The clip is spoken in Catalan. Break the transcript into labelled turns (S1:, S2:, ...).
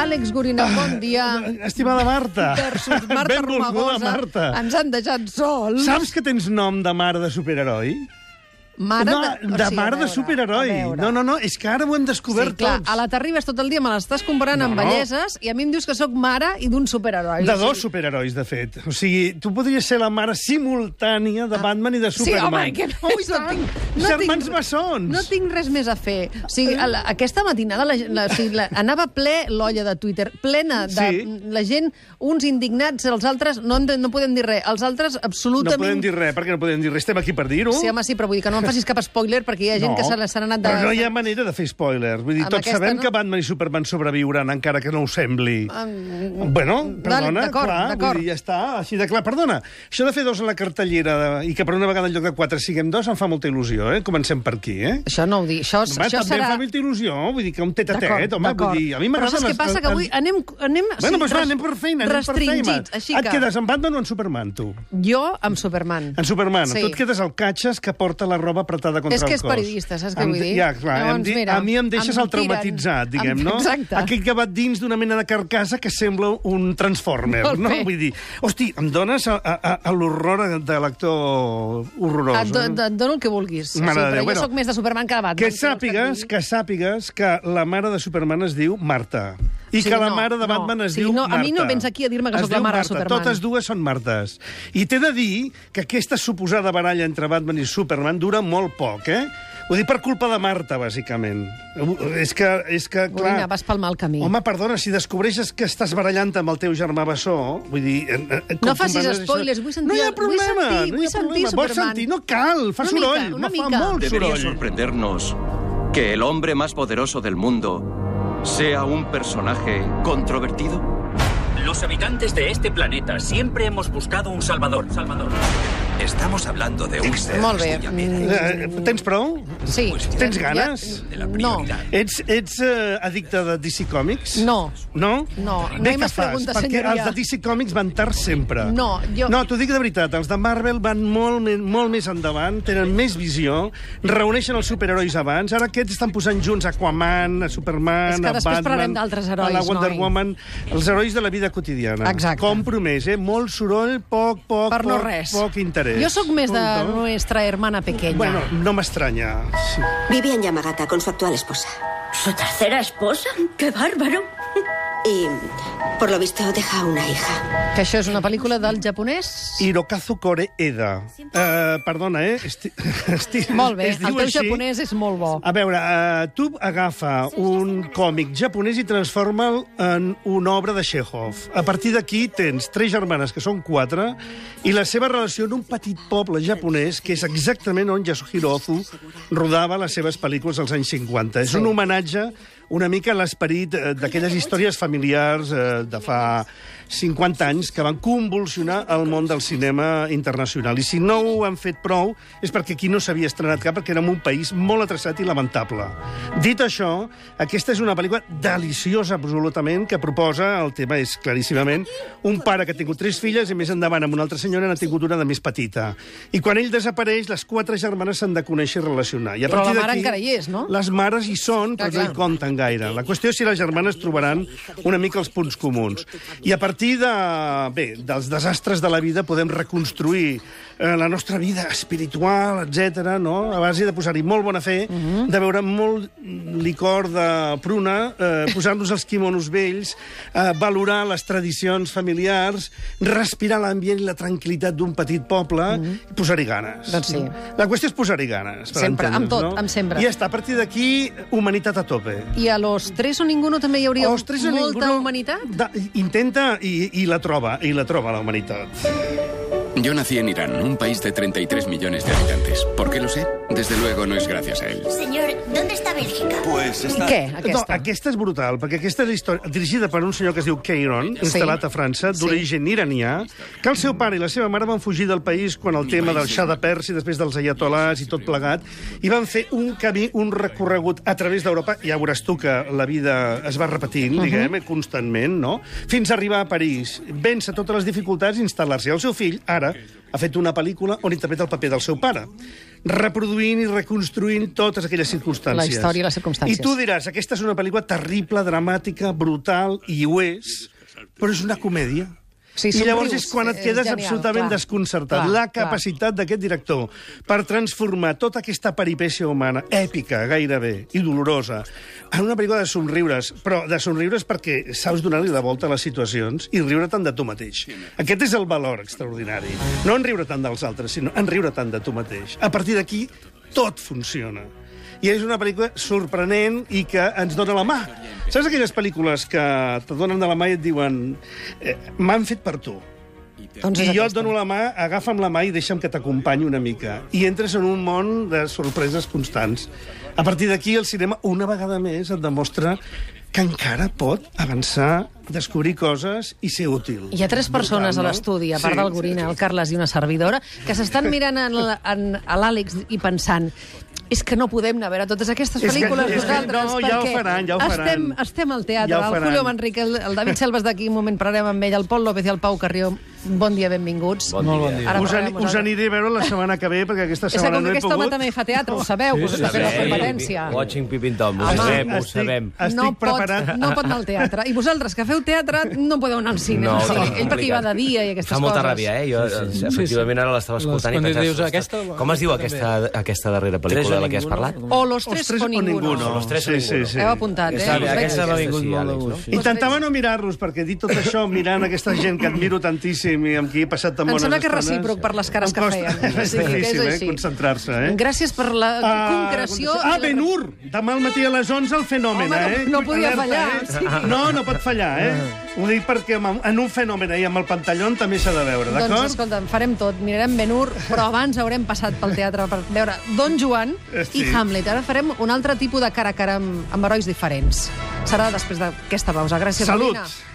S1: Àlex Gorina,
S2: Ah.
S1: bon dia.
S2: Estimada Marta.
S1: Versus Marta
S2: Benvolguda,
S1: Romagosa.
S2: Marta.
S1: Ens han deixat sols.
S2: Saps que tens nom de mare de superheroi?
S1: Mare
S2: no,
S1: o
S2: de
S1: sigui, a
S2: mare de
S1: veure,
S2: superheroi.
S1: a veure.
S2: No, no, no, és que ara ho hem
S1: Sí,
S2: descobert
S1: clar,
S2: tots.
S1: a la t'arribes tot el dia, me l'estàs comparant
S2: No,
S1: amb
S2: no.
S1: belleses i a mi em dius que sóc mare i d'un superheroi.
S2: De dos superherois, de fet. O sigui, tu podries ser la mare simultània de Batman i de
S1: Ah. Sí, home,
S2: Superman.
S1: que no,
S2: oh, i
S1: no
S2: tant!
S1: tinc...
S2: Germans bessons!
S1: No tinc res més a fer. O sigui, a la, aquesta matinada la, la, o sigui, la, anava ple l'olla de Twitter, plena de
S2: Sí.
S1: la gent, uns indignats, els altres no, hem de, no podem dir res, els altres
S2: No
S1: absolutament...
S2: podem dir res, perquè no podem dir res. Estem aquí per dir-ho.
S1: Sí, home, sí, però vull dir que no em facis cap spoiler perquè hi ha gent
S2: no,
S1: que se n'ha anat de...
S2: Però no hi ha manera de fer spoilers. Vull dir,
S1: Amb
S2: tots
S1: aquesta,
S2: sabem
S1: no?
S2: que Batman i Superman sobreviuran, encara que no ho sembli.
S1: Mm,
S2: Bueno, perdona,
S1: d'acord,
S2: clar,
S1: d'acord.
S2: vull dir, ja està, així de clar. Perdona, això de fer dos a la cartellera de... i que per una vegada en lloc de quatre siguem dos em fa molta il·lusió, eh? Comencem per aquí, eh?
S1: Això no ho dic, això,
S2: Home,
S1: això
S2: també
S1: serà...
S2: em fa molta il·lusió, vull dir que un tet a
S1: D'acord,
S2: tet, home,
S1: d'acord.
S2: vull dir, a mi
S1: Però
S2: m'agrada...
S1: saps què passa? Que avui anem... anem
S2: Bueno,
S1: sí,
S2: doncs va,
S1: res-
S2: anem per feina, anem per feina.
S1: Restringits, així
S2: Et
S1: que...
S2: quedes en Batman o en Superman, tu?
S1: Jo amb Superman.
S2: En Superman,
S1: Sí.
S2: sí. tu et quedes al catxes que porta la roba apretada contra
S1: És que
S2: el
S1: és
S2: cos.
S1: periodista, saps què
S2: Em
S1: vull
S2: di-
S1: dir?
S2: Ja, clar,
S1: Llavors,
S2: em di...
S1: mira,
S2: a mi em deixes
S1: em
S2: el traumatitzat,
S1: tiren.
S2: diguem,
S1: Em-
S2: no?
S1: exacte.
S2: Aquell que va dins d'una mena de carcassa que sembla un Transformer,
S1: Molt
S2: no?
S1: bé.
S2: Vull dir, hosti, em dones a, a, a- a l'horror de l'actor horrorós.
S1: Et, do,
S2: eh?
S1: et dono el que vulguis.
S2: Mare de
S1: però
S2: Déu,
S1: jo
S2: bueno.
S1: sóc més de Superman que de Batman.
S2: Que
S1: què vols et
S2: sàpigues,
S1: digui?
S2: que sàpigues que la mare de Superman es diu Marta. I
S1: Sí,
S2: que la
S1: no,
S2: mare de
S1: no.
S2: Batman es
S1: Sí,
S2: diu
S1: no, a
S2: Marta.
S1: mi no vens aquí a dir-me que
S2: Es
S1: sóc la
S2: diu
S1: mare de
S2: Marta.
S1: Superman.
S2: Totes dues són Martes. I t'he de dir que aquesta suposada baralla entre Batman i Superman dura molt poc, eh? Ho dic per culpa de Marta, bàsicament. És que, és que clar...
S1: Gorina, vas pel mal camí.
S2: Home, perdona, si descobreixes que estàs barallant amb el teu germà Bessó, vull dir... eh, eh,
S1: No
S2: confondràs
S1: facis
S2: això.
S1: spoilers, vull sentir
S2: No hi
S1: el-
S2: ha
S1: vull
S2: problema,
S1: sentir-
S2: no
S1: vull
S2: hi ha problema.
S1: sentir
S2: Vols
S1: Superman.
S2: sentir? No cal, fa
S1: Una
S2: soroll,
S1: mica, una
S2: no fa
S1: mica.
S2: molt
S3: Debería
S2: soroll.
S3: sorprendernos que el hombre más poderoso del mundo sea un personaje controvertido.
S4: Los habitantes de este planeta siempre hemos buscado un salvador. Salvador.
S3: Estamos hablando de un ser
S1: Molt bé.
S3: cuya meta
S1: Mm,
S2: Eh, tens prou?
S1: sí.
S2: Tens ganes?
S3: de la
S1: No.
S3: prioridad.
S2: Ets, ets eh, addicte de DC Comics?
S1: No.
S2: No?
S1: No, no
S2: Bé,
S1: hi
S2: què
S1: m'has
S2: fas?
S1: preguntat,
S2: Perquè
S1: senyoria.
S2: els de DC Comics van tard sempre.
S1: No, jo-
S2: No, t'ho dic de veritat, els de Marvel van molt, me- molt més endavant, tenen més visió, reuneixen els superherois abans, ara aquests estan posant junts Aquaman, a
S1: És
S2: Superman,
S1: que
S2: a
S1: després parlarem
S2: Batman,
S1: d'altres
S2: a la
S1: herois,
S2: Wonder
S1: noi.
S2: Woman, els herois de la vida quotidiana.
S1: Exacte.
S2: Compromès, eh? Molt soroll, poc, poc,
S1: Per no
S2: poc,
S1: res.
S2: poc interès.
S1: Jo sóc més de
S2: Punt, no?
S1: nuestra hermana pequeña.
S2: Bueno, no m'estranya. Sí.
S5: Vivía en Yamagata con su actual esposa.
S6: ¿Su tercera esposa? ¡Qué bárbaro!
S5: Y, por lo visto, deja una hija.
S1: Que això és una pel·lícula del japonès?
S2: Hirokazu Koreeda. Uh, perdona, eh? Esti... Esti...
S1: Molt bé,
S2: es diu
S1: el teu
S2: així.
S1: japonès oh. és molt bo.
S2: A veure, uh, tu agafa un còmic japonès i transforma'l en una obra de Chekhov. A partir d'aquí tens tres germanes, que són quatre, i la seva relació en un petit poble japonès, que és exactament on Yasuhiro Ozu rodava les seves pel·lícules als anys 50. És un homenatge una mica a l'esperit eh, d'aquelles històries familiars eh, de fa 50 anys que van convulsionar el món del cinema internacional. I si no ho han fet prou és perquè aquí no s'havia estrenat cap, perquè érem un país molt atreçat i lamentable. Dit això, aquesta és una pel·lícula deliciosa, absolutament, que proposa, el tema és claríssimament, un pare que ha tingut tres filles i més endavant amb una altra senyora n'ha tingut una de més petita. I quan ell desapareix, les quatre germanes s'han de conèixer i relacionar. I a
S1: Però la
S2: partir
S1: mare
S2: d'aquí,
S1: encara hi és, no?
S2: Les mares hi són,
S1: Clar,
S2: però no hi
S1: clar.
S2: compten gaire. La qüestió és si les germanes trobaran una mica els punts comuns. I a partir de, bé, dels desastres de la vida podem reconstruir eh, la nostra vida espiritual, etc. no? a base de posar-hi molt bona fe,
S1: Mhm.
S2: de veure molt licor de pruna, eh, posar-nos els quimonos vells, eh, valorar les tradicions familiars, respirar l'ambient i la tranquil·litat d'un petit poble i posar-hi ganes.
S1: Mhm. Doncs sí.
S2: La qüestió és posar-hi ganes. per
S1: Sempre, amb
S2: entendre'ns,
S1: tot,
S2: no?
S1: amb sempre.
S2: I està, a partir d'aquí, humanitat a tope.
S1: I a los tres o ninguno també hi hauria
S2: Ostres, a
S1: molta
S2: ningú no-
S1: humanitat?
S2: Da, intenta i, i la troba, i la troba, la humanitat.
S7: Yo nací en Irán, un país de 33 millones de habitantes. ¿Por qué lo sé? Desde luego no es gracias a él.
S6: Señor, ¿dónde está Bélgica?
S3: Pues
S1: I
S3: está...
S1: què,
S2: No,
S1: aquesta?
S2: aquesta és brutal, perquè aquesta és la història dirigida per un senyor que es diu Keiron, instal·lat a França, d'origen iranià, que el seu pare i la seva mare van fugir del país quan el tema del Shah de Persi, després dels ayatolars i tot plegat, i van fer un camí, un recorregut a través d'Europa, ja veuràs tu que la vida es va repetint,
S1: Mhm.
S2: diguem, constantment, no? Fins a arribar a París, vèncer totes les dificultats i instal·lar-s'hi. El seu fill, ara, ha fet una pel·lícula on interpreta el paper del seu pare. reproduint i reconstruint totes aquelles circumstàncies.
S1: La història i les circumstàncies.
S2: I tu diràs, aquesta és una pel·lícula terrible, dramàtica, brutal, i ho és, però és una comèdia.
S1: Sí,
S2: I llavors
S1: somrius.
S2: és quan et
S1: És
S2: quedes
S1: genial,
S2: absolutament
S1: clar.
S2: desconcertat.
S1: Clar,
S2: la
S1: clar.
S2: capacitat d'aquest director per transformar tota aquesta peripècia humana, èpica gairebé, i dolorosa, en una pel·lícula de somriures, però de somriures perquè saps donar-li la volta a les situacions i riure tant de tu mateix. Aquest és el valor extraordinari. No en riure tant dels altres, sinó en riure tant de tu mateix. A partir d'aquí, tot funciona. I és una pel·lícula sorprenent i que ens dona la mà. Saps aquelles pel·lícules que te donen de la mà i et diuen eh, m'han fet per tu?
S1: Doncs és
S2: I jo et
S1: aquesta.
S2: dono la mà, agafa'm la mà i deixa'm que t'acompanyi una mica. I entres en un món de sorpreses constants. A partir d'aquí, el cinema, una vegada més, et demostra que encara pot avançar, descobrir coses i ser útil.
S1: Hi ha tres persones a
S2: Brutal, no?
S1: l'estudi, a part
S2: Sí.
S1: del Gorina, el Carles i una servidora, que s'estan mirant en la- en- a l'Àlex i pensant és que no podem anar a veure totes aquestes
S2: És que-
S1: pel·lícules
S2: és que-
S1: nosaltres,
S2: no, ja ho
S1: perquè
S2: faran, ja ho faran.
S1: Estem, estem al teatre,
S2: Ja ho
S1: el
S2: faran.
S1: Julio Manrique, el, el David Selves d'aquí, un moment parlarem amb ell, el Pol López i el Pau Carrió. Bon dia, benvinguts. Bon dia. Molt bon dia.
S2: Us, ani us aniré a veure la setmana que ve, perquè aquesta
S1: És que
S2: setmana
S1: com
S2: no
S1: que
S2: he
S1: aquest home
S2: pogut. Oh.
S1: també fa teatre, ho sabeu, sí, us està fent la competència.
S8: Watching Pippin Tom, ho
S1: Home,
S8: sabem, ho
S2: estic-
S8: sabem.
S2: Estic
S1: no
S2: preparat.
S1: Pot, no pot anar al teatre. I vosaltres, que feu teatre, no podeu anar al cine.
S8: No,
S1: o sigui,
S8: complicat.
S1: ell perquè hi va de dia i aquestes
S8: Fa molta
S1: coses.
S8: ràbia, eh? Jo, eh, efectivament, ara l'estava
S1: Doncs
S9: Les-
S8: escoltant
S9: quan
S8: i pensava...
S9: dius
S8: "Ostres,
S9: aquesta,
S8: Com es diu
S9: aquesta
S8: aquesta, aquesta darrera pel·lícula de la que has parlat?
S1: O los tres,
S2: Los tres
S1: o ninguno.
S8: Los tres o
S2: Sí,
S8: ninguno.
S2: sí, sí.
S1: Heu apuntat, eh?
S8: Està bé,
S1: Perfecte.
S8: aquesta m'ha vingut
S9: Sí,
S8: molt de
S9: Àlex,
S8: gust.
S2: Intentava no mirar-los, perquè dit tot això, mirant aquesta gent que admiro tantíssim i amb qui he passat tan
S1: Em
S2: bones
S1: sembla que és
S2: estones...
S1: recíproc per les cares
S2: em
S1: que
S2: costa-
S1: feien.
S2: És
S1: Sí, que és
S2: difícil, eh,
S1: així.
S2: concentrar-se, eh?
S1: Gràcies per la
S2: Ah,
S1: concreció.
S2: Ah,
S1: i la-
S2: Ben-Hur! Demà al matí a les 11 el fenomen,
S1: Home, no-
S2: eh?
S1: no podia fallar,
S2: eh?
S1: sí.
S2: No, no pot fallar, eh? Ho dic perquè amb- en un fenomen eh, i amb el pantallón també s'ha de veure,
S1: Doncs,
S2: d'acord?
S1: escolta, farem tot. Mirarem ben però abans haurem passat pel teatre per veure Don Joan
S2: Eh, Sí.
S1: i Hamlet. Ara farem un altre tipus de cara a cara amb, amb herois diferents. Serà després d'aquesta pausa. Gràcies,
S2: Salut!
S1: Marina.